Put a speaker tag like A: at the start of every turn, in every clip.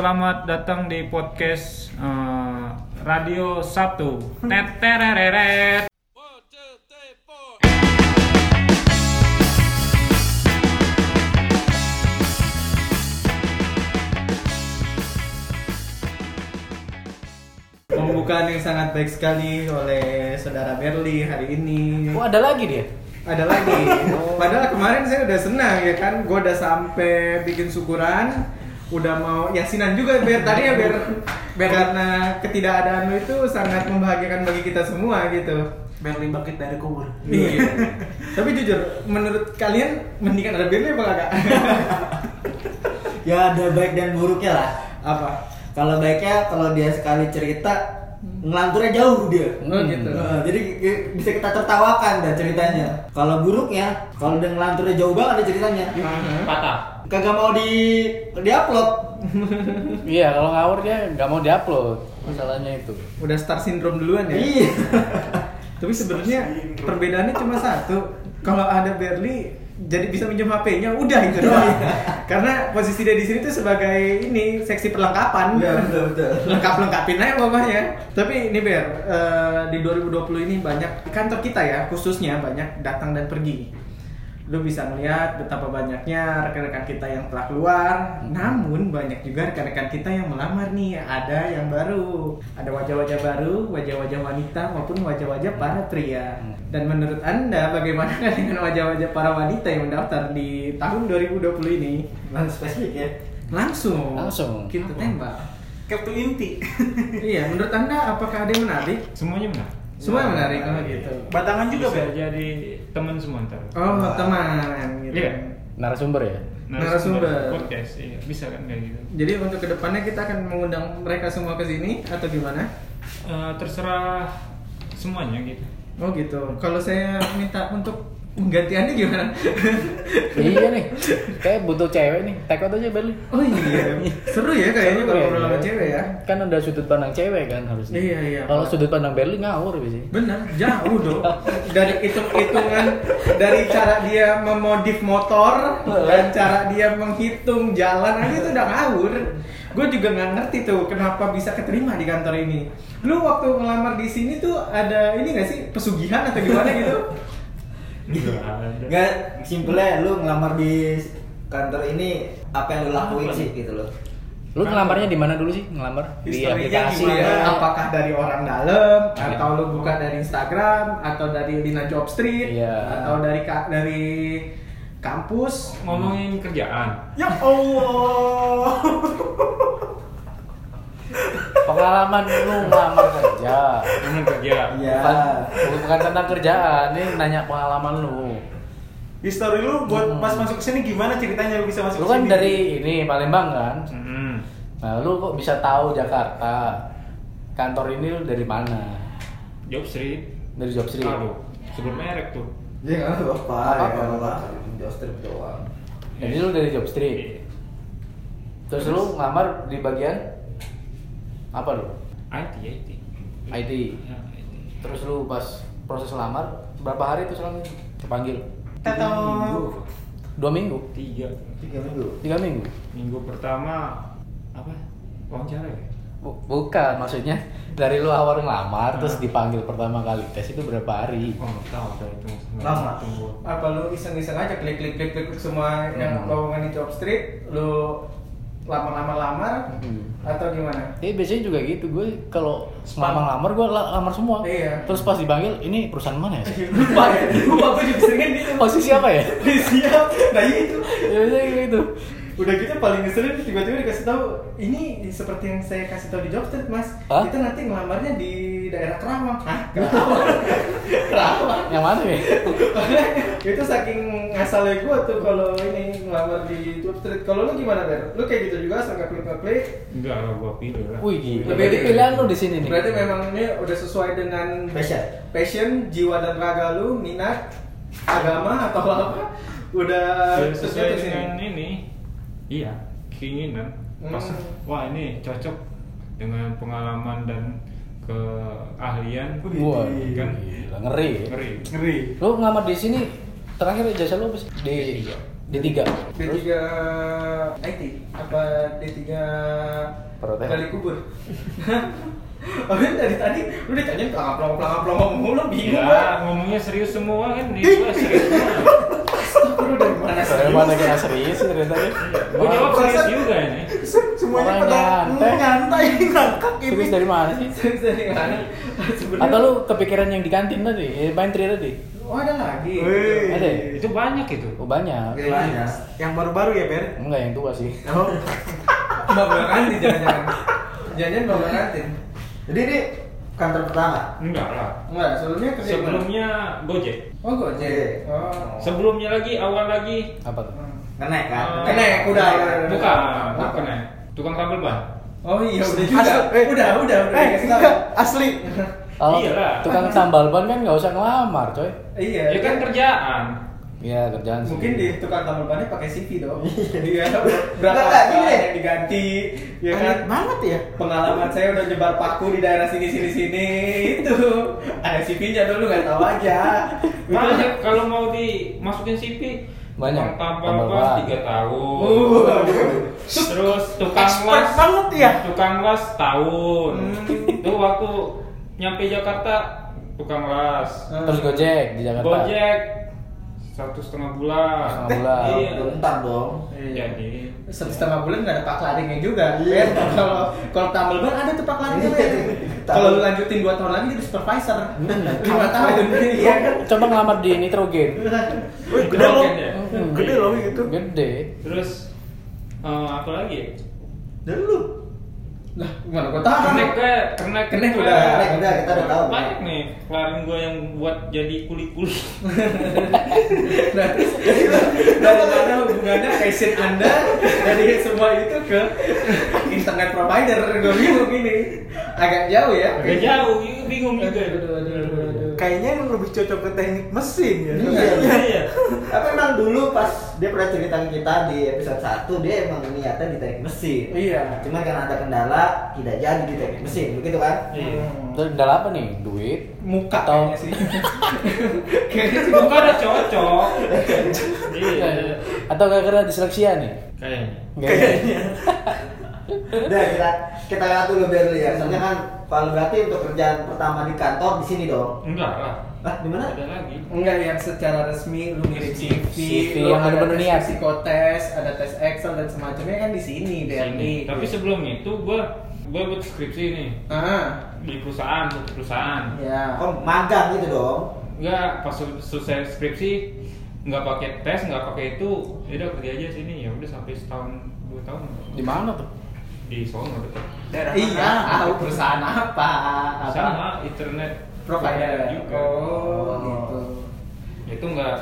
A: Selamat datang di podcast eh, Radio 1 Tetereret
B: Pembukaan yang sangat baik sekali oleh saudara Berli hari ini.
C: Oh ada lagi dia?
B: Ada lagi. Padahal kemarin saya udah senang ya kan, gue udah sampai bikin syukuran, udah mau yasinan juga biar tadi ya biar,
C: Biar-
B: karena ketidakadaan lu itu sangat membahagiakan bagi kita semua gitu. Iya.
C: Berli bangkit dari kubur.
B: Tapi jujur, menurut kalian mendingan ada Berli apa kagak?
D: ya ada baik dan buruknya lah
B: apa?
D: kalau baiknya kalau dia sekali cerita ngelanturnya jauh dia
B: Oh, gitu.
D: Nah, jadi ki- bisa kita tertawakan dah ceritanya kalau buruknya kalau dia ngelanturnya jauh banget ada ceritanya
C: Patah.
D: kagak mau di diupload
C: Iya kalau ngawur dia nggak mau diupload masalahnya itu.
B: Udah star syndrome duluan ya.
D: iya
B: Tapi sebenarnya perbedaannya cuma satu. Kalau ada Berli jadi bisa minjem HP-nya udah itu doang. Karena posisi dia di sini tuh sebagai ini seksi perlengkapan.
D: Iya, betul, betul.
B: Lengkap-lengkapin aja mamanya. ya, Tapi ini Ber, eh, di 2020 ini banyak di kantor kita ya khususnya banyak datang dan pergi. Lu bisa melihat betapa banyaknya rekan-rekan kita yang telah keluar,
D: Hmm.
B: namun banyak juga rekan-rekan kita yang melamar nih. Ada yang baru, ada wajah-wajah baru, wajah-wajah wanita maupun wajah-wajah para pria.
D: Hmm.
B: Dan menurut Anda bagaimana dengan wajah-wajah para wanita yang mendaftar di tahun 2020 ini?
D: Nah, spesifik ya
B: Langsung.
C: Langsung.
B: Kita tembak.
E: kartu inti
B: iya, menurut Anda apakah ada yang menarik?
A: Semuanya benar
B: Semua yang menarik kalau gitu.
D: Kan
E: batangan juga
A: Bisa
E: Bel
A: jadi teman semua ntar
B: Oh, teman gitu.
A: Iya.
C: Narasumber ya.
B: Narasumber.
A: Podcast, iya Bisa kan kayak gitu
B: Jadi untuk kedepannya kita akan mengundang mereka semua ke sini atau gimana?
A: Eh, Terserah semuanya gitu
B: Oh gitu. Kalau saya minta untuk menggantiannya gimana?
C: iya nih. Kayak butuh cewek nih. Take out aja Berli.
B: Oh iya, seru ya kayaknya
C: Seru
B: kalau
C: ya,
B: ngobrol sama
C: iya.
B: cewek ya.
C: Kan ada sudut pandang cewek kan harusnya.
B: Iya, iya.
C: Kalau sudut pandang Berli ngawur biasanya.
B: Benar, jauh dong. Dari hitung-hitungan, dari cara dia memodif motor dan cara dia menghitung jalan aja itu udah ngawur. Gue juga nggak ngerti tuh kenapa bisa keterima di kantor ini. Lu waktu ngelamar di sini tuh ada ini nggak sih pesugihan atau gimana gitu?
A: Nggak ada.
D: Iya. nggak simpelnya lu ngelamar di kantor ini apa yang lu lakuin sih gitu loh
C: Lu ngelamarnya di mana dulu sih ngelamar? Di
E: Historinya
C: aplikasi.
E: gimana?
B: Iya,
C: ya?
B: apakah dari orang dalam atau lu buka dari Instagram atau dari Lina Job Street
C: Iya.
B: atau dari ka- dari kampus?
A: Ngomongin kerjaan
E: ya allah
C: Pengalaman lu ngelamar kerja.
A: Ngomongin kerja
D: iya
C: Bukan, bukan tentang kerjaan, ini nanya pengalaman lu.
E: history lu buat
C: Hmm.
E: pas masuk sini gimana ceritanya lu bisa masuk
C: Lu kan
E: sini
C: dari ini Palembang kan?
A: Mhm.
C: Nah, lu kok bisa tahu Jakarta? Kantor ini lu dari mana?
A: Job Street
C: Dari job street.
A: Aduh, sebelum merek tuh
D: ya nggak apa-apa
C: Nggak
D: ya
C: apa-apa.
D: nggak apa-apa Just trip doang
C: Jadi lu dari job
A: Iya.
C: street. Terus lu ngelamar di bagian apa lu?
A: IT, IT
C: IT.
A: Ya, IT.
C: Terus lu pas proses lamar berapa hari tuh sekarang kepanggil?
E: Teto.
C: Dua minggu,
A: Tiga
D: tiga minggu
C: tiga minggu.
A: Minggu pertama Apa? Wawancara ya?
C: Bu- bukan maksudnya dari lu awal ngelamar terus dipanggil pertama kali tes itu berapa hari?
A: Oh, nggak tahu saya itu.
D: Lama.
A: Tunggu.
B: apa lu iseng-iseng aja klik klik klik klik semua yang
C: Hmm.
B: lowongan di job street lu lama-lama lamar
C: Hmm.
B: atau gimana
C: Iya biasanya juga gitu gue kalau ngelamar ngelamar gue la- lamar semua.
B: Iya.
C: Terus pas dipanggil ini perusahaan mana ya? sih?
B: lupa lupa gue juga sering gitu
C: Posisi apa ya?
B: siap nah iya itu
C: ya biasanya kayak gitu.
B: udah gitu paling ngeselin tiba-tiba dikasih tahu ini seperti yang saya kasih tahu di job street mas
C: Hah?
B: kita nanti ngelamarnya di daerah Kerawang Hah? Kerawang Kerawang
C: Yang mana ya?
B: itu saking ngasalnya gue tuh kalau ini ngelamar di job street kalau lu gimana Ber? lu kayak gitu juga asal nggak klik nggak klik
A: Enggak lah, gua pilih lah.
C: Wih
B: Lebih
C: gila. Jadi pilihan lu di sini nih.
B: Berarti memang ini udah sesuai dengan
D: Passion.
B: passion, jiwa dan raga lu, minat, agama atau apa? Udah
A: Sesuai-
B: sesuai
A: sesuai
B: ke sini.
A: dengan ini. Iya, keinginan. Pas,
B: Hmm.
A: wah ini cocok dengan pengalaman dan keahlian.
C: Wah,
A: kan
C: gila, ngeri.
A: ngeri.
E: ngeri
C: Lu ngelamar di sini terakhir jasa lu apa sih? Di D3.
B: D3
C: Terus
B: IT apa D3
C: Perhotelan.
B: kali kubur Oke dari tadi lu ditanya pelangap pelangap pelangap pelangap mulu bingung
A: Ya, ngomongnya serius semua kan di gua serius semua.
B: gua. Lu dari mana
C: Soalnya
B: serius?
C: mana gitu? kena serius sih ternyata nih.
A: Gua jawab serius juga ini.
D: Semuanya
C: Orang
D: pada
C: nyantai.
D: nyantai ngangkak ini.
C: Serius dari mana sih?
B: Serius dari mana? Sebenarnya-
C: Atau lu kepikiran yang di kantin tadi, yang main tri tadi?
B: Oh ada lagi.
E: Wih.
C: Ada ya?
A: Itu banyak itu.
C: Oh banyak.
D: Gimana?
E: Yang baru-baru ya, Ber?
C: Enggak yang tua sih.
D: Oh.
B: Mbak Mbak Ranti jangan-jangan. Jangan-jangan Mbak Mbak Ranti.
D: Jadi ini kantor pertama.
A: Enggak lah.
B: Enggak, sebelumnya kerja di mana?
A: Sebelumnya Gojek.
B: Oh
D: Iya.
B: Gojek. Oh.
A: Sebelumnya lagi awal lagi
C: Apa tuh?
D: Kenaik kan?
E: Oh.
A: Ah.
B: Kenek,
E: Iya,
B: udah.
A: bukan, bukan ya. Tukang kabel ban.
B: Oh iya udah juga.
D: eh.
B: udah, udah, udah.
D: Eh,
B: dikasih tahu.
D: enggak, asli.
C: Kalau
A: Iyalah.
C: tukang tambal ban kan nggak usah ngelamar, coy.
B: Iya.
A: Ya kan kerjaan.
C: Iya kerjaan sih.
B: Mungkin di tukang tambal bannya pakai CV dong. Iya.
D: Enggak,
B: Berapa
D: enggak,
B: apa
D: gini.
B: yang diganti,
E: Iya
B: ya kan?
D: Aneh banget ya.
B: Pengalaman saya udah nyebar paku di daerah sini sini sini itu. Ada CV-nya dulu nggak tahu aja.
A: Banyak kalau mau dimasukin CV
C: Banyak.
A: Tukang
C: Tambal
A: Tambal
C: ban.
A: ban 3 tahun.
B: Uh.
A: Terus tukang
D: Expert
A: las
D: banget ya.
A: Tukang las tahun.
B: Hmm.
A: Itu waktu nyampe Jakarta tukang las.
C: Terus Gojek di Jakarta.
A: Gojek satu setengah bulan.
C: Setengah bulan.
A: Iya.
D: Bentar dong.
A: Jadi
B: Satu Iya. setengah bulan nggak ada pak laringnya juga. Ben, kalau kalau tambal ban ada tuh pak laringnya. Ben. Kalau lu lanjutin dua tahun lagi jadi supervisor. Lima tahun. Hmm. Iya kan?
C: Coba ngelamar di Nitrogen.
E: Wih, gede loh.
A: Gede.
C: Hmm.
E: Gede loh gitu.
C: Gede.
A: terus eh, apa lagi? ya?
D: Dan lu.
B: Lah, gimana gua tahu?
A: Kenek ke, kenek
B: Kenek
A: gue.
B: udah,
D: kenek udah, kita udah tahu.
A: Banyak nih kelarin gue yang buat jadi kuli-kuli.
B: Nah, jadi dari mana hubungannya passion Anda dari semua itu ke internet provider? Gue bingung ini. Agak jauh ya.
A: Agak jauh, gitu. ini bingung
B: Aduh,
A: juga.
B: aduh, aduh, aduh, aduh.
E: Kayaknya yang lebih cocok ke teknik mesin ya.
D: Iya.
A: Iya.
D: Tapi emang dulu pas dia pernah cerita ke kita di episode 1 dia emang niatnya di teknik mesin.
B: Iya.
D: Cuman karena ada kendala tidak jadi di teknik mesin, begitu kan?
A: Iya.
C: Terus kendala apa nih? Duit.
B: Muka
C: Atau-
B: kayaknya sih. Kayaknya sih
A: Bukan ada cocok. Iya.
C: Atau gak karena disleksia nih?
A: Kayaknya.
C: Kayaknya.
D: Udah kita kita lihat dulu biar dulu ya.
E: Hmm.
D: Soalnya kan kalau berarti untuk kerjaan pertama di kantor di sini dong.
A: Enggak lah.
D: Ah, di mana?
A: Ada lagi.
B: Enggak yang secara resmi lu ngirim CV,
C: CV,
B: lu
C: yang
B: ada
C: bener-bener niat.
B: tes psikotes, ada tes Excel dan semacamnya kan di
A: Sini.
B: sini dari.
A: Tapi sebelum itu gue gue buat skripsi nih
B: ah,
A: di perusahaan satu perusahaan.
B: ya.
D: Oh, magang gitu dong.
A: Enggak pas sel- selesai skripsi nggak pakai tes nggak pakai itu ya udah kerja aja sini ya udah sampai setahun dua tahun
C: Di mana tuh?
A: di Solo betul
E: Daerah
B: iya,
E: mana?
B: tahu perusahaan apa? apa?
A: sama internet
B: provider
A: juga
B: Oh, gitu.
A: itu nggak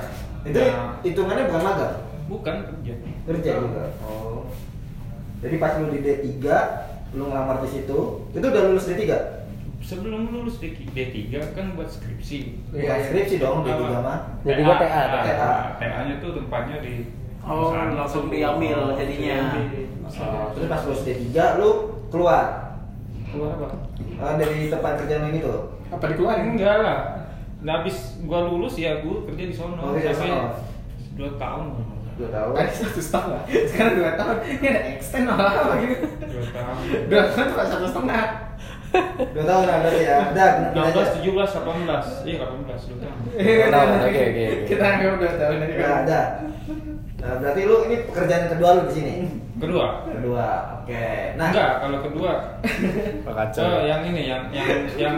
D: Itu
A: nggak-
D: hitungannya bukan magang,
A: bukan kerja
D: kerja juga. Oh. Jadi pas lu di D3, lu ngelamar di situ, itu udah lulus D3.
A: sebelum lulus di D3 kan buat skripsi
D: Bukan skripsi dong D3 mah.
C: D3 TA,
A: TA
D: TA.
A: TA nya tuh tempatnya di
E: Oh,
A: perusahaan.
E: langsung diambil jadinya.
D: Oh, terus pas lulus D3 lu keluar
A: keluar apa
D: eh, dari tempat kerjaan ini tuh.
B: Apa dikeluarin?
A: enggak lah nah, habis gua lulus ya gua kerja di sono
D: Oh, iya, sono.
A: sampai dua tahun
D: Dua tahun.
B: Tadi satu setengah, sekarang dua tahun. Ini ada extend malah apa gitu?
A: dua tahun
B: Dua tahun cuma satu setengah.
D: Dua tahun lah berarti ya. Udah,
A: enam belas tujuh belas delapan belas iya delapan belas dua tahun
B: Iya,
C: tahun,
B: udah,
C: oke, oke, oke.
B: Kita anggap dua tahun aja.
D: Udah ada. Nah, berarti lu ini pekerjaan kedua lu di sini.
A: kedua
D: Kedua. Oke. Nah,
A: enggak kalau kedua
C: Kacau.
A: Oh, yang ini yang yang yang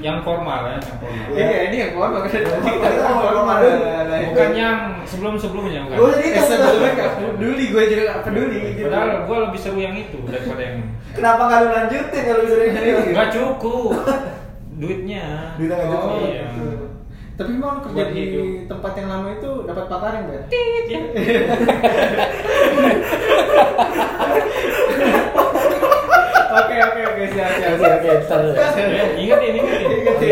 A: yang formal ya, yang formal.
B: Iya, ini yang keluar makanya
D: Keluar,
B: kita
D: keluar,
B: keluar,
D: keluar,
B: keluar.
D: keluar.
B: Nah, itu.
A: Bukan yang sebelum-sebelumnya
D: Gua
A: bukan. Iya.
D: jadi
B: Eh, sebelumnya nggak peduli, gue juga nggak peduli. gitu.
A: Padahal gua lebih seru yang itu daripada yang
D: kenapa nggak lu lanjutin kalau bisa ini?
A: nggak cukup duitnya.
D: Duitnya nggak cukup.
B: Oh,
A: Iya.
B: gitu. Tapi mau kerja
A: Buat
B: di
A: hidup.
B: tempat yang lama itu dapat pataring, Ben?
A: Ya,
B: Oke, oke, oke, siap, siap,
C: Oke
B: siap.
C: oke, ntar dulu.
A: ya, ingetin ingetin.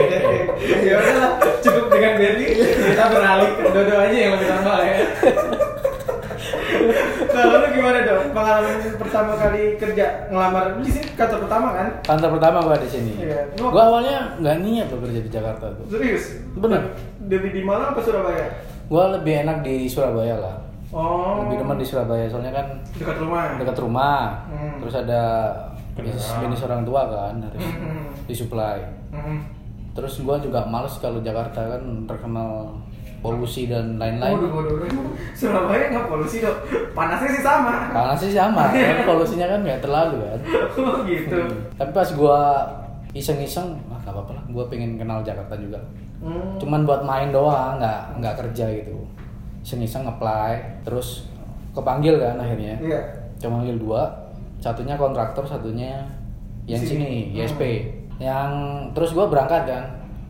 B: ya udahlah cukup dengan Berli kita beralih ke Dodo aja yang lebih normal ya kalau lu gimana dong pengalaman pertama kali kerja ngelamar lu di sini kantor pertama kan
C: Kantor pertama gua di sini.
B: Iya.
C: Gua awalnya nggak niat loh kerja di Jakarta tuh.
B: serius
C: Bener.
B: dari di Malang apa Surabaya
C: Gua lebih enak di Surabaya lah.
B: Oh.
C: lebih demen di Surabaya soalnya kan
E: dekat rumah
C: dekat rumah
B: Hmm.
C: terus ada bisnis
A: Kendaraan.
C: bisnis orang tua kan harus
B: Hmm.
C: disuplai
B: Hmm.
C: terus gua juga males kalau Jakarta kan terkenal polusi dan
B: Waduh,
C: lain-lain
B: waduh, waduh. Surabaya nggak polusi dok. Panasnya sih sama.
C: panas sih sama tapi polusinya kan nggak terlalu kan
B: Oh, gitu.
C: Hmm. tapi pas gua iseng-iseng ah nggak apa-apa lah gua pengen kenal Jakarta juga
B: Hmm.
C: cuman buat main doang nggak nggak kerja gitu iseng-iseng ngeplay terus kepanggil kan akhirnya
B: Iya.
C: cuma manggil dua satunya kontraktor satunya yang sini, ISP yang terus gua berangkat kan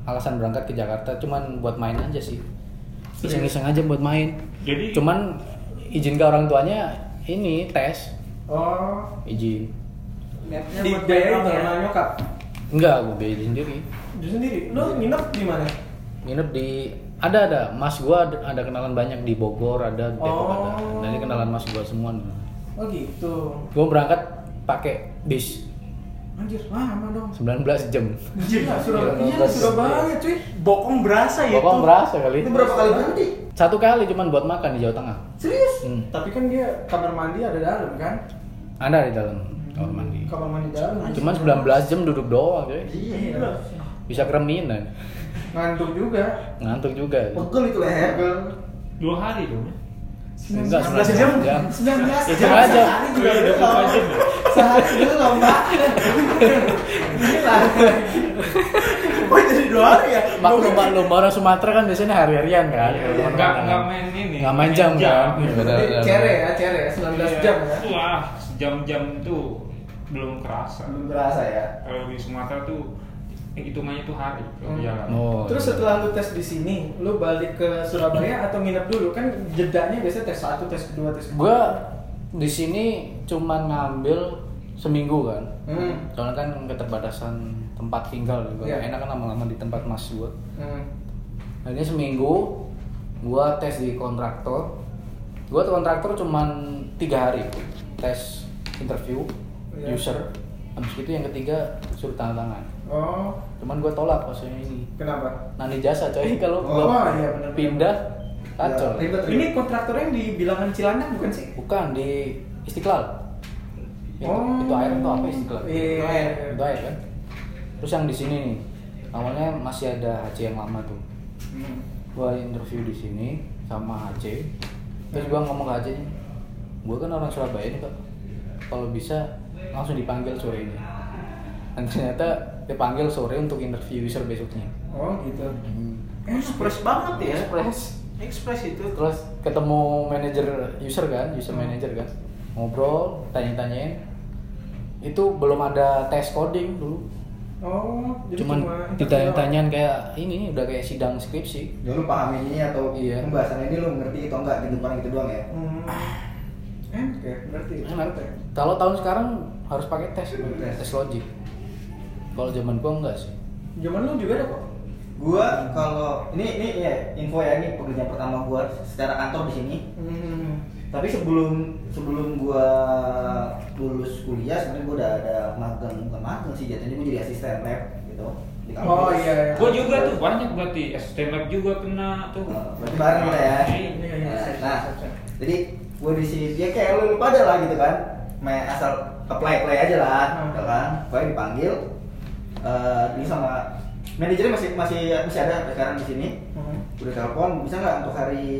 C: alasan berangkat ke Jakarta cuman buat main aja sih iseng-iseng aja buat main
A: Jadi-
C: cuman izin ke orang tuanya ini tes
B: Oh.
C: izin
E: Niatnya buat bayar
B: Dibayarin sama
E: orang ya.
B: nyokap.
C: enggak gue biayain sendiri
B: Dia sendiri. Lo nginep di mana?
C: nginep di ada ada mas gua ada, ada kenalan banyak di Bogor ada di Depok
B: Oh.
C: ada nah, ini kenalan mas gua semua nih
B: Oh gitu.
C: gua berangkat pakai bis
B: Anjir, lama dong.
C: 19 jam
B: Gila, Surabaya. Iya,
C: Iya,
B: Surabaya cuy.
E: bokong berasa ya
C: Bokong berasa kali
D: Ah, Itu berapa kali berhenti?
C: satu kali cuman buat makan di Jawa Tengah
B: Serius?
C: Hmm.
B: Tapi kan dia kamar mandi ada dalam kan?
C: ada di dalam kamar mandi
B: Kamar mandi dalam.
C: cuman 19 jam duduk doang cuy
D: Iya.
C: bisa kereminan
B: Ngantuk juga.
C: ngantuk juga
D: Pegel itu leher.
A: dua hari dong ya?
C: enggak
E: 19
C: jam
E: jam.
D: 19
C: Ya,
D: jam
C: cuma aja.
D: sehari juga
A: Iya,
D: belum.
A: 24 jam ya?
D: Sehari belum, Pak. Gila.
E: oh jadi dua hari ya
C: maklum maklum orang Sumatera kan biasanya hari-harian kan
A: Iya, nggak nggak main ini
C: nggak main jam kan Iya, benar,
B: Jadi
C: benar,
B: Cere
C: benar.
B: ya, cere ya, 19
A: Iya.
B: jam ya.
A: wah jam-jam tuh belum kerasa
D: Belum berasa ya.
A: kalau di Sumatera tuh hitungannya tuh hari kalau
B: Hmm.
A: jalan
C: Oh,
B: Terus
C: iya.
B: setelah lu tes di sini, lu balik ke Surabaya atau nginep dulu? Kan jedanya biasanya tes satu, tes kedua, tes
C: gue
B: kedua.
C: di sini cuman ngambil seminggu kan
B: Hmm.
C: soalnya kan keterbatasan tempat tinggal juga
B: Iya.
C: enak kan lama-lama di tempat mas gue
B: Hmm.
C: akhirnya seminggu gue tes di kontraktor gue kontraktor cuman tiga hari tes interview
B: Iya.
C: user habis itu yang ketiga suruh tanda tangan
B: Oh,
C: cuman gue tolak pasnya ini
B: kenapa?
C: nanti jasa coy kalau
B: Oh,
C: gue
B: iya, benar-benar.
C: pindah
D: Ya,
C: kacau
D: ribet, ribet.
B: Ini kontraktornya yang di bilangan Cilandak bukan sih?
C: bukan di istiqlal itu, itu air itu apa istiqlal
B: Oh. Iya, iya, iya.
C: itu air kan terus yang di sini nih awalnya masih ada HC yang lama tuh
B: Hmm.
C: gua interview di sini sama HC terus gua ngomong ke HC nih gua kan orang Surabaya nih kak kalau bisa langsung dipanggil sore ini dan ternyata dipanggil sore untuk interview user besoknya
B: Oh gitu.
C: Hmm.
E: ekspres banget ya
C: Ekspres.
E: ekspres itu
C: terus ketemu manajer user kan user manager kan ngobrol tanya-tanyain itu belum ada tes coding dulu
B: Oh, jadi
C: cuman
B: interview doang.
C: ditanya-tanyain kayak ini udah kayak sidang skripsi
D: Ya, lu paham ini atau
C: Iya.
D: pembahasan ini lu ngerti atau enggak gitu paling gitu doang ya.
B: Hmm. Eh, oke, berarti. ya?
C: Enak. Kalau tahun sekarang harus pakai tes,
D: Tes.
C: tes logik. Kalau zaman gua enggak sih.
B: Zaman lu juga ada kok.
D: Gua kalau ini ini ya info ya ini pekerjaan pertama gua secara kantor di sini.
B: Hmm.
D: Tapi sebelum sebelum gua lulus kuliah sebenarnya gua udah ada magang bukan magang sih jadinya gua jadi asisten lab gitu di kampus.
B: Oh, iya, iya.
A: Gua juga tuh banyak berarti STM Lab juga kena tuh.
D: Nah, Berarti bareng kita ya.
A: Iya,
B: iya, iya, siap, siap,
D: Nah,
B: siap, siap.
D: jadi gua di sini ya kayak lu lupa ada lah gitu kan. Main asal apply apply aja lah,
B: Hmm.
D: gitu kan. Gua dipanggil eh ini sama manajernya masih masih masih ada sampai sekarang di sini.
B: Hmm.
D: udah telepon bisa nggak untuk hari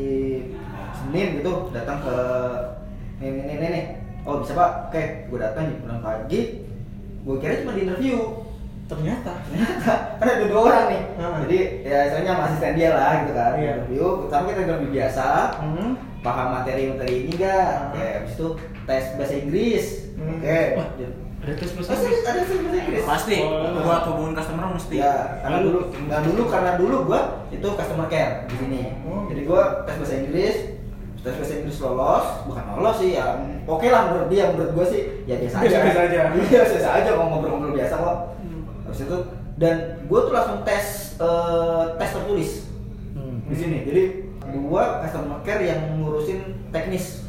D: Senin gitu datang ke ini ini ini nih oh bisa pak oke gue datang jam 6 pagi gue kira cuma di interview
B: Ternyata.
D: ternyata kan ada dua orang nih
B: Hmm.
D: jadi ya istilahnya sama asisten dia lah gitu kan
B: Iya.
D: interview pertama kita interview biasa
B: Hmm.
D: paham materi materi ini nggak
B: Hmm.
D: oke habis itu tes bahasa Inggris
B: Hmm.
D: oke
A: Wah. Ada tes bahasa
D: Oh, serius, ada tes bahasa Inggris
E: pasti
A: Oh.
E: buat hubungan customer mesti
D: Iya, karena dulu, nah dulu karena dulu gua itu customer care di sini.
B: Oh.
D: Jadi gua tes bahasa Inggris, tes bahasa Inggris lolos, bukan lolos sih ya. Oke lah menurut dia, menurut gua sih ya biasa aja.
B: Biasa aja.
D: Iya, biasa aja kalau ngobrol-ngobrol biasa kok. Habis itu dan gua tuh langsung tes eh, tes tertulis
C: Hmm.
D: di sini. Jadi gua customer care yang ngurusin teknis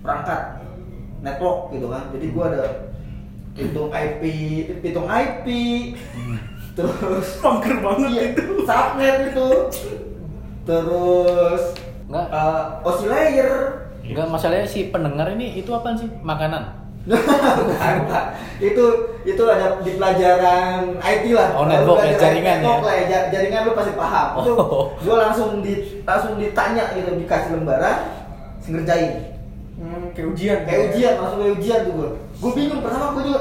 D: perangkat network gitu kan. Jadi gua ada hitung IP, hitung IP, terus
B: ya.
E: bangker banget
D: Iya,
E: itu
D: subnet itu terus
C: Enggak,
D: Eh, Osi layer
C: enggak masalahnya si pendengar ini itu apa sih? Makanan.
D: bukan Pak. itu itu ada di pelajaran IT lah
C: Oh,
D: Kalau
C: network ya,
D: pelajaran
C: jaringan
D: network
C: ya?
D: lah ja- jaringan lu pasti paham itu
C: Oh.
D: gue langsung di langsung ditanya gitu dikasih lembaran ngerjain
B: Hmm, kayak ujian.
D: kayak ujian langsung kayak ujian tuh gue gue bingung pertama gue juga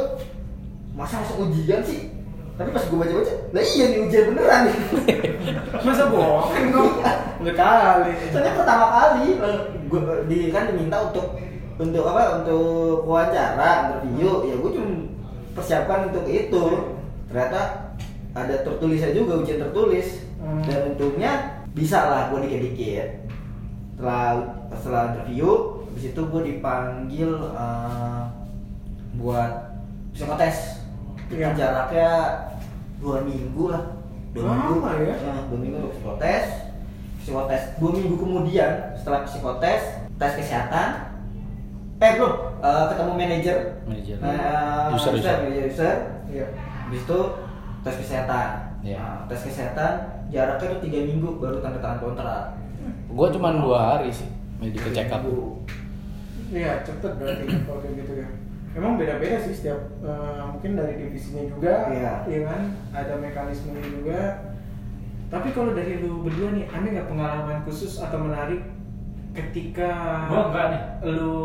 D: masa masuk ujian sih tapi pas gue baca baca lah iya nih ujian beneran nih
B: Masa bohong dong? Enggak kali.
D: soalnya pertama kali gue di kan diminta untuk untuk apa untuk wawancara interview ya gue cuma persiapkan untuk itu ternyata ada tertulisnya juga ujian tertulis
B: Hmm.
D: dan untungnya bisa lah gue dikit dikit setelah setelah interview habis itu gue dipanggil eh, buat psikotes itu
B: Iya.
D: jaraknya dua minggu lah dua
B: Lama
D: minggu
B: ya?
D: Nah, dua minggu untuk psikotes psikotes dua minggu kemudian setelah psikotes tes kesehatan eh belum eh, ketemu manajer
C: Manajer.
D: Eh,
C: User,
D: user,
C: user.
D: manajer user
B: Iya.
D: habis itu tes kesehatan
C: Iya.
D: Nah, tes kesehatan jaraknya itu tiga minggu baru tanda tangan kontrak
C: Gua cuma dua hari sih medical
D: Tiga
C: check up.
D: minggu.
B: Iya, cepet berarti kalau kayak gitu ya. Emang beda-beda sih setiap eh, mungkin dari divisinya juga,
D: Iya.
B: iya kan? Ada mekanismenya juga. Tapi kalau dari lu berdua nih, ada nggak pengalaman khusus atau menarik ketika
A: Gua nggak nih.
B: lu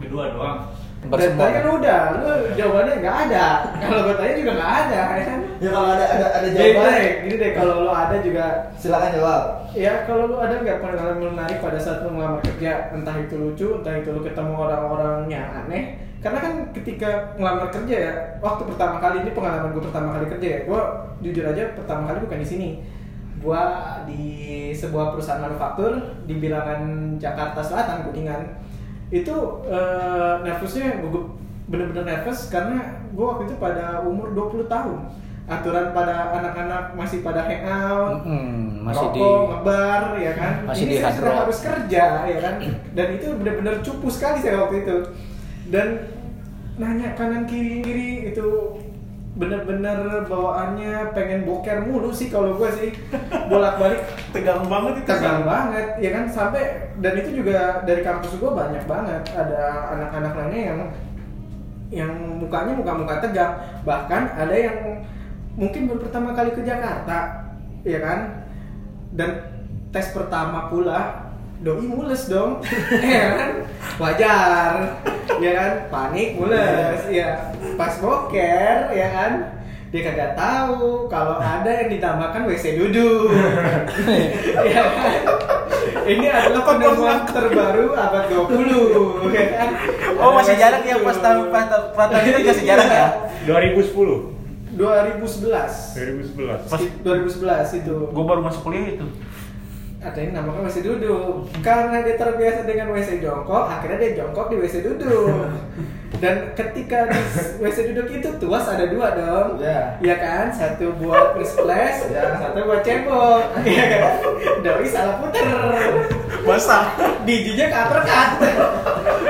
A: berdua doang
B: Dan
C: Bersemua.
B: tadi kan udah, lu jawabannya nggak ada. Kalau gue tanya juga nggak ada. ya kan?
D: ya kalau ada ada ada
B: Jadi
D: jawaban
B: deh, gini deh, kalau lo ada juga,
D: silakan jawab
B: ya kalau lo ada nggak pengalaman menarik pada saat lo ngelamar kerja, entah itu lucu, entah itu lo ketemu orang-orang yang aneh. Karena kan ketika ngelamar kerja ya, waktu pertama kali ini pengalaman gue pertama kali kerja ya, gue jujur aja pertama kali bukan di sini, gue di sebuah perusahaan manufaktur di bilangan Jakarta Selatan, Kuningan itu eh, nervousnya gugup bener-bener nervous karena gue waktu itu pada umur 20 tahun aturan pada anak-anak masih pada hangout
C: Mm-mm, masih
B: rokok,
C: di
B: ngebar ya kan
C: Masih
B: ini
C: di
B: saya sudah
C: hard rock.
B: harus kerja ya kan dan itu bener-bener cupu sekali saya waktu itu dan nanya kanan kiri kiri itu bener-bener bawaannya pengen boker mulu sih kalau gue sih bolak-balik
E: tegang banget itu
B: tegang banget ya kan sampai dan itu juga dari kampus gua banyak banget ada anak-anak lainnya yang yang mukanya muka-muka tegang bahkan ada yang mungkin baru pertama kali ke Jakarta ya kan dan tes pertama pula doi mules dong ya kan wajar ya kan panik mules ya pas boker ya kan dia kagak tahu kalau ada yang ditambahkan WC duduk Iya kan? Ini adalah penemuan terbaru abad 20 ya kan?
E: oh masih
B: Ada
E: jarak ya
B: itu.
E: pas tahun pas tahun pas tahun itu masih jarak ya
A: 2010
B: 2011
A: 2011
E: Pas-
B: 2011 itu
E: gue baru masuk kuliah itu
B: ada yang namakan WC duduk karena dia terbiasa dengan WC jongkok akhirnya dia jongkok di WC duduk dan ketika di WC duduk itu tuas ada dua
E: Ya.
B: dong
D: Iya.
B: Iya kan satu buat press flash
D: Iya.
B: Ya, satu buat cebok Iya kan doi salah puter
E: basah
B: bijinya kaperkat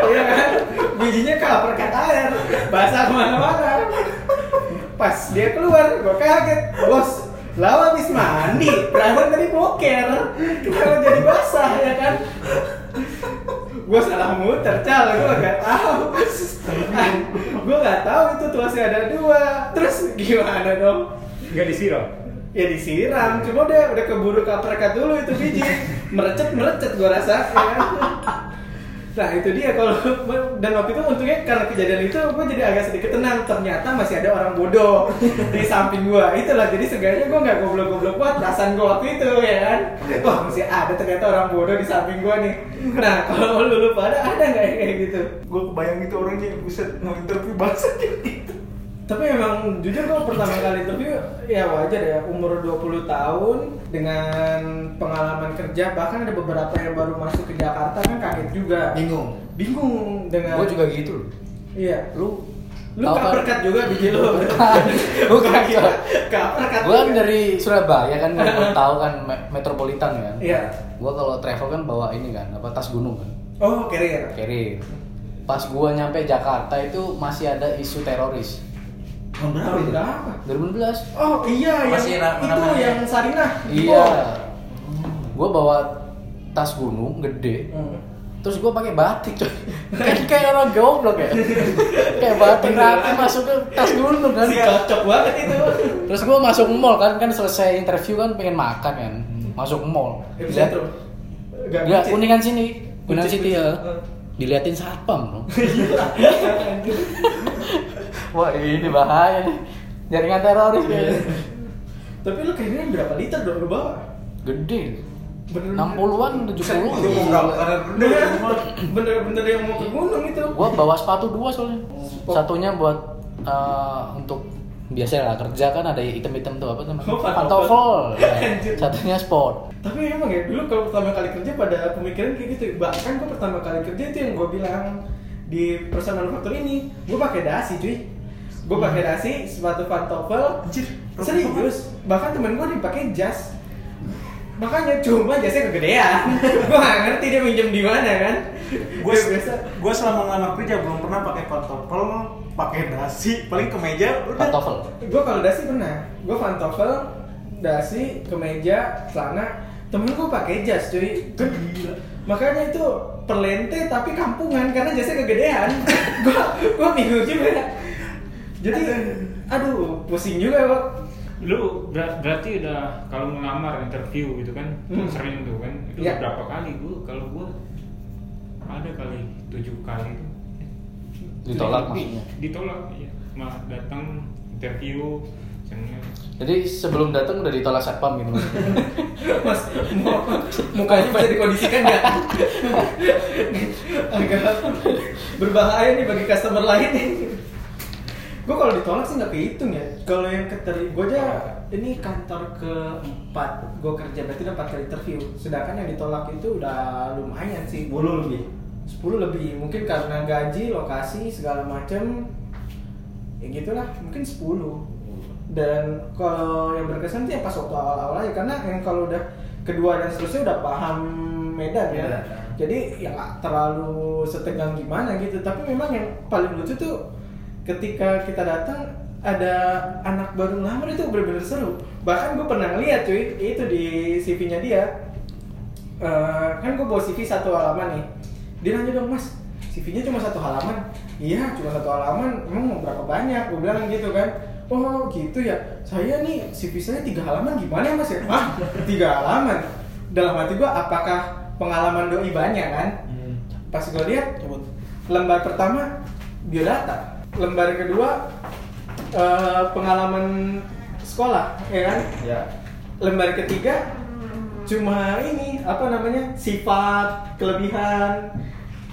B: iya kan bijinya kaperkat air basah kemana-mana pas dia keluar gue kaget bos lawan habis mandi perawan tadi boker kenapa jadi basah ya kan gue salah muter cal gue gak tahu gue gak tahu itu tuasnya ada dua terus gimana dong
A: nggak disiram
B: ya disiram cuma udah udah keburu kaprekat dulu itu biji merecet merecet gua rasa ya. nah itu dia kalau dan waktu itu untungnya karena kejadian itu gua jadi agak sedikit tenang ternyata masih ada orang bodoh di samping gua itulah jadi seenggaknya gua nggak goblok goblok banget perasaan gua waktu itu ya kan wah masih ada ternyata orang bodoh di samping gua nih nah kalau lu lu pada ada nggak yang kayak gitu
E: gue kebayang itu orangnya buset mau interview basah kayak gitu
B: tapi emang jujur kalau pertama kali interview ya wajar ya umur 20 tahun dengan pengalaman kerja bahkan ada beberapa yang baru masuk ke Jakarta kan kaget juga
D: bingung
B: bingung dengan
C: Gua juga gitu loh.
B: iya
C: Lu
B: lu
C: Tau kan?
B: kaperkat juga biji lu
C: Bukan gitu.
B: kaperkat
C: Gua kan
E: ya.
B: juga.
C: dari Surabaya kan gua tahu kan me- metropolitan kan.
B: iya
C: Gua kalau travel kan bawa ini kan, apa tas gunung kan.
B: oh carrier
C: Carrier. Pas gua nyampe Jakarta itu masih ada isu teroris.
D: tahun berapa
C: iya.
B: Tahun
D: itu
B: berapa?
C: 2016.
B: oh iya yang
E: Masih ra-
B: itu
E: ramai.
B: yang Sarinah
C: Iya. Gua Iya. bawa tas gunung gede
B: Hmm.
C: terus gue pakai batik coy kan kayak orang goblok ya kayak batik rapi masuk ke tas gunung kan
B: cocok banget itu
C: terus gue masuk mall kan kan selesai interview kan pengen makan kan masuk mall Lihat-
B: epicentrum Gak
C: Enggak,
B: bucin.
C: kuningan sini. Kuningan
B: Bucin,
C: City
B: bucin.
C: ya.
B: Heeh.
C: Diliatin satpam bro. Wah ini bahaya nih. Jaringan teroris kayaknya.
B: tapi lu kayaknya berapa liter dong lu bawa
C: Gede.
B: Bener-bener.
C: 60-an,
E: Itu mau
C: 70
E: berapa karena
B: bener bener-bener yang mau ke gunung itu
C: Gua bawa sepatu dua soalnya. Satunya buat eh, untuk biasa lah kerja kan ada item-item tuh apa namanya?
B: Oh,
C: Pantofel.
B: pantofel.
C: Ya.
B: Anjir.
C: Satunya sport.
B: tapi emang ya dulu kalau pertama kali kerja pada pemikiran kayak gitu bahkan gue pertama kali kerja itu yang gue bilang di perusahaan manufaktur ini gue pakai dasi cuy gue pakai dasi sepatu pantofel serius bahkan temen gue dipakai jas makanya cuma jasnya kegedean gue gak ngerti dia minjem di mana kan
E: gue
B: gue biasa
E: gue selama ngelamar kerja belum pernah pakai pantofel pakai dasi paling kemeja udah
C: Pantofel.
B: gue kalau dasi pernah gue pantofel dasi kemeja celana temen gue pakai jas cuy Gila. makanya itu perlente tapi kampungan karena jasnya kegedean gue gue bingung juga jadi aduh pusing juga kok
A: lu ber- berarti udah kalau ngelamar interview gitu kan
B: Hmm.
A: sering tuh kan itu
B: Iya.
A: berapa kali gua kalau gua ada kali tujuh kali
C: Ditolak
A: Lebih.
C: maksudnya.
A: ditolak iya malah datang interview misalnya
C: Jadi sebelum datang udah ditolak satpam gitu.
B: mas mau mukanya bisa dikondisikan nggak agak berbahaya nih bagi customer lain nih gue kalau ditolak sih nggak kehitung ya kalau yang keteri gue aja ini kantor keempat gue kerja berarti dapat kali interview sedangkan yang ditolak itu udah lumayan sih
D: Bulu lebih.
B: 10 lebih mungkin karena gaji lokasi segala macem ya gitulah mungkin 10 dan kalau yang berkesan sih ya pas waktu awal-awal aja karena yang kalau udah kedua dan seterusnya udah paham medan ya
D: Medan.
B: jadi ya nggak terlalu setegang gimana gitu tapi memang yang paling lucu tuh ketika kita datang ada anak baru ngelamar itu bener-bener seru bahkan gue pernah lihat cuy itu di CV-nya dia Eh, kan gue bawa CV satu halaman nih dia nanya dong mas CV-nya cuma satu halaman iya cuma satu halaman emang mau berapa banyak gue bilang gitu kan oh gitu ya saya nih CV saya tiga halaman gimana ya mas ya ah tiga halaman dalam hati gue apakah pengalaman doi banyak kan
A: Hmm.
B: pas gue lihat lembar pertama biodata lembar kedua eh, pengalaman sekolah ya kan
D: Ya.
B: lembar ketiga cuma ini apa namanya sifat kelebihan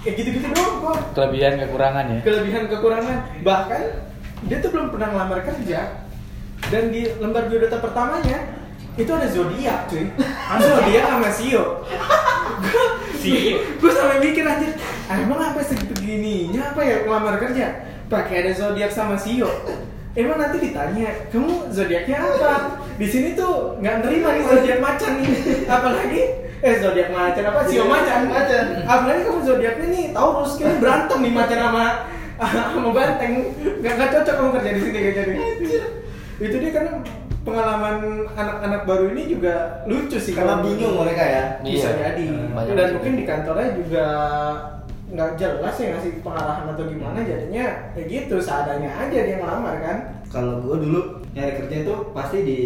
B: kayak gitu-gitu doang kok
C: Kelebihan kekurangan ya.
B: kelebihan kekurangan bahkan dia tuh belum pernah ngelamar kerja dan di lembar biodata pertamanya itu ada zodiak cuy zodiak sama sio
A: si
B: gue sampai mikir anjir "Ah, emang apa segitu gininya apa ya ngelamar kerja pakai ada zodiak sama sio emang nanti ditanya kamu zodiaknya apa di sini tuh nggak nerima nih zodiak macan nih apalagi eh zodiak macan apa sio macan macan apalagi kamu zodiaknya nih taurus kayaknya berantem nih macan sama sama banteng nggak nggak cocok kamu kerja di sini kayak jadi itu dia karena pengalaman anak-anak baru ini juga lucu sih
D: Karena
B: kalau-
D: bingung mereka ya.
B: bisa
C: Iya.
B: jadi
C: Banyak
B: dan
C: juga.
B: mungkin di kantornya juga nggak jelas ya ngasih pengarahan atau gimana jadinya ya gitu seadanya aja dia ngelamar kan
D: Kalau gue dulu nyari kerja itu pasti di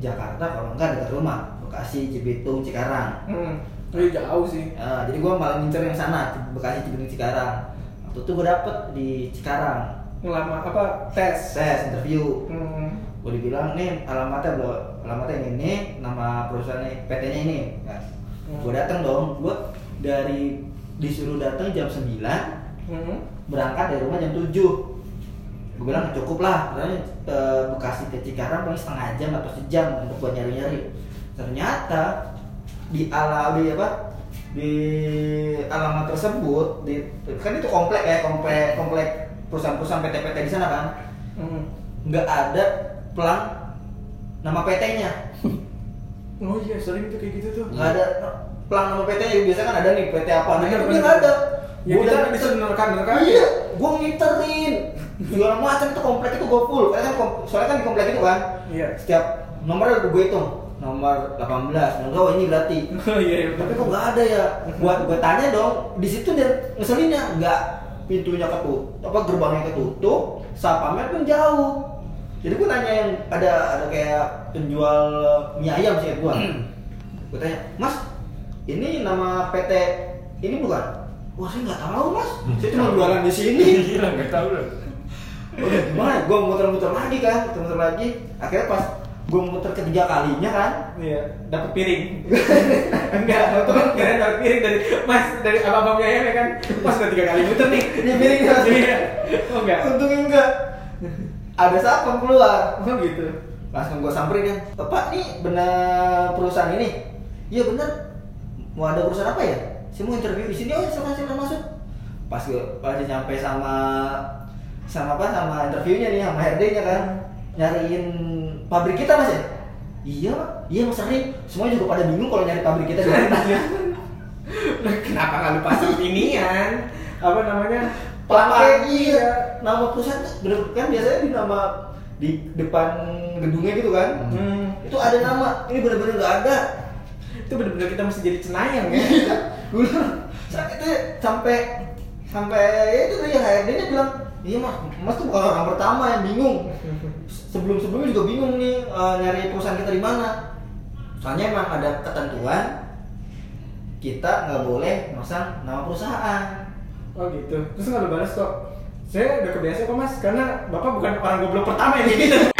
D: Jakarta kalau enggak dekat rumah. Bekasi, Cibitung, Cikarang.
B: hmm ya jauh sih
D: Ya, jadi gue malah ngincer yang sana, Bekasi, Cibitung, Cikarang. Waktu itu gue dapet di Cikarang.
B: ngelamar apa tes
D: Tes interview.
B: hmm.
D: gue dibilang nih alamatnya lo alamatnya yang ini nama perusahaannya PT-nya ini kan
B: Hmm.
D: gue datang dong gue dari disuruh datang jam 9
B: Hmm.
D: berangkat dari rumah jam 7 gue bilang cukup lah karena eh, Bekasi ke Cikarang paling setengah jam atau sejam untuk gue nyari nyari ternyata di ala di apa di alamat tersebut di, kan itu komplek ya komplek komplek perusahaan-perusahaan PT-PT di sana kan
B: Hmm.
D: nggak ada pelang nama PT-nya
B: oh iya sering tuh kayak gitu tuh
D: nggak ada pelang nama PT-nya biasa kan ada nih PT apa
B: Bener,
D: nah itu dia
B: bener.
D: nggak ada
B: Ya,
D: Gua
B: kita
D: udah-
B: bisa menerka-nerka.
D: iya gue ngiterin segala macam tuh komplek itu gue full karena kan kom- soalnya kan di komplek itu kan
B: Iya.
D: setiap nomornya gue hitung nomor 18 bilang oh ini gratis
B: Oh iya, iya.
D: tapi kok nggak ada ya buat gue tanya dong di situ dia ngeselinnya nggak pintunya ketutup apa gerbangnya ketutup satpamnya pun jauh jadi gue nanya yang ada ada kayak penjual mie ayam sih gue gue tanya mas ini nama PT ini bukan wah saya nggak tahu mas saya cuma jualan di sini
A: Gila, nggak tahu loh.
D: Udah gimana? Gue muter-muter lagi kan, muter-muter lagi. Akhirnya pas gue muter ketiga kalinya kan,
B: Iya, dapat piring. Enggak, waktu kan kira dapat piring dari Mas dari abang-abang biaya ya kan. Mas udah tiga kali muter nih.
D: Ini piring, Mas.
B: Iya. Oh enggak.
D: untungnya enggak. Ada satpam keluar,
B: Oh gitu.
D: langsung gue samperin kan. Pak nih benar perusahaan ini? Iya benar. Mau ada perusahaan apa ya? Saya mau interview di sini. Oh silakan silakan masuk. Pas gue pas dia nyampe sama sama apa sama interviewnya nih sama HRD nya kan nyariin pabrik kita mas ya? Iya, Pak. iya Mas Arif. Semua juga pada bingung kalau nyari pabrik kita di mana.
B: Nah, kenapa nggak lupa pasang inian? Apa namanya?
D: Pakai
B: Iya.
D: iya. Nama perusahaan tuh bener kan biasanya di nama di depan gedungnya gitu kan.
B: Hmm.
D: Itu ada nama. Ini bener-bener nggak ada.
B: Itu benar-benar kita mesti jadi cenayang ya.
D: Gue bilang, sakitnya sampai sampai ya itu tadi HRD-nya bilang, "Iya Mas, Mas tuh bukan orang pertama yang bingung. Sebelum-sebelumnya juga bingung nih eh, nyari perusahaan kita di mana." Soalnya emang ada ketentuan kita nggak boleh masang nama perusahaan.
B: Oh gitu. Terus nggak ada balas kok. Saya udah kebiasa kok mas, karena bapak bukan orang goblok pertama yang gitu.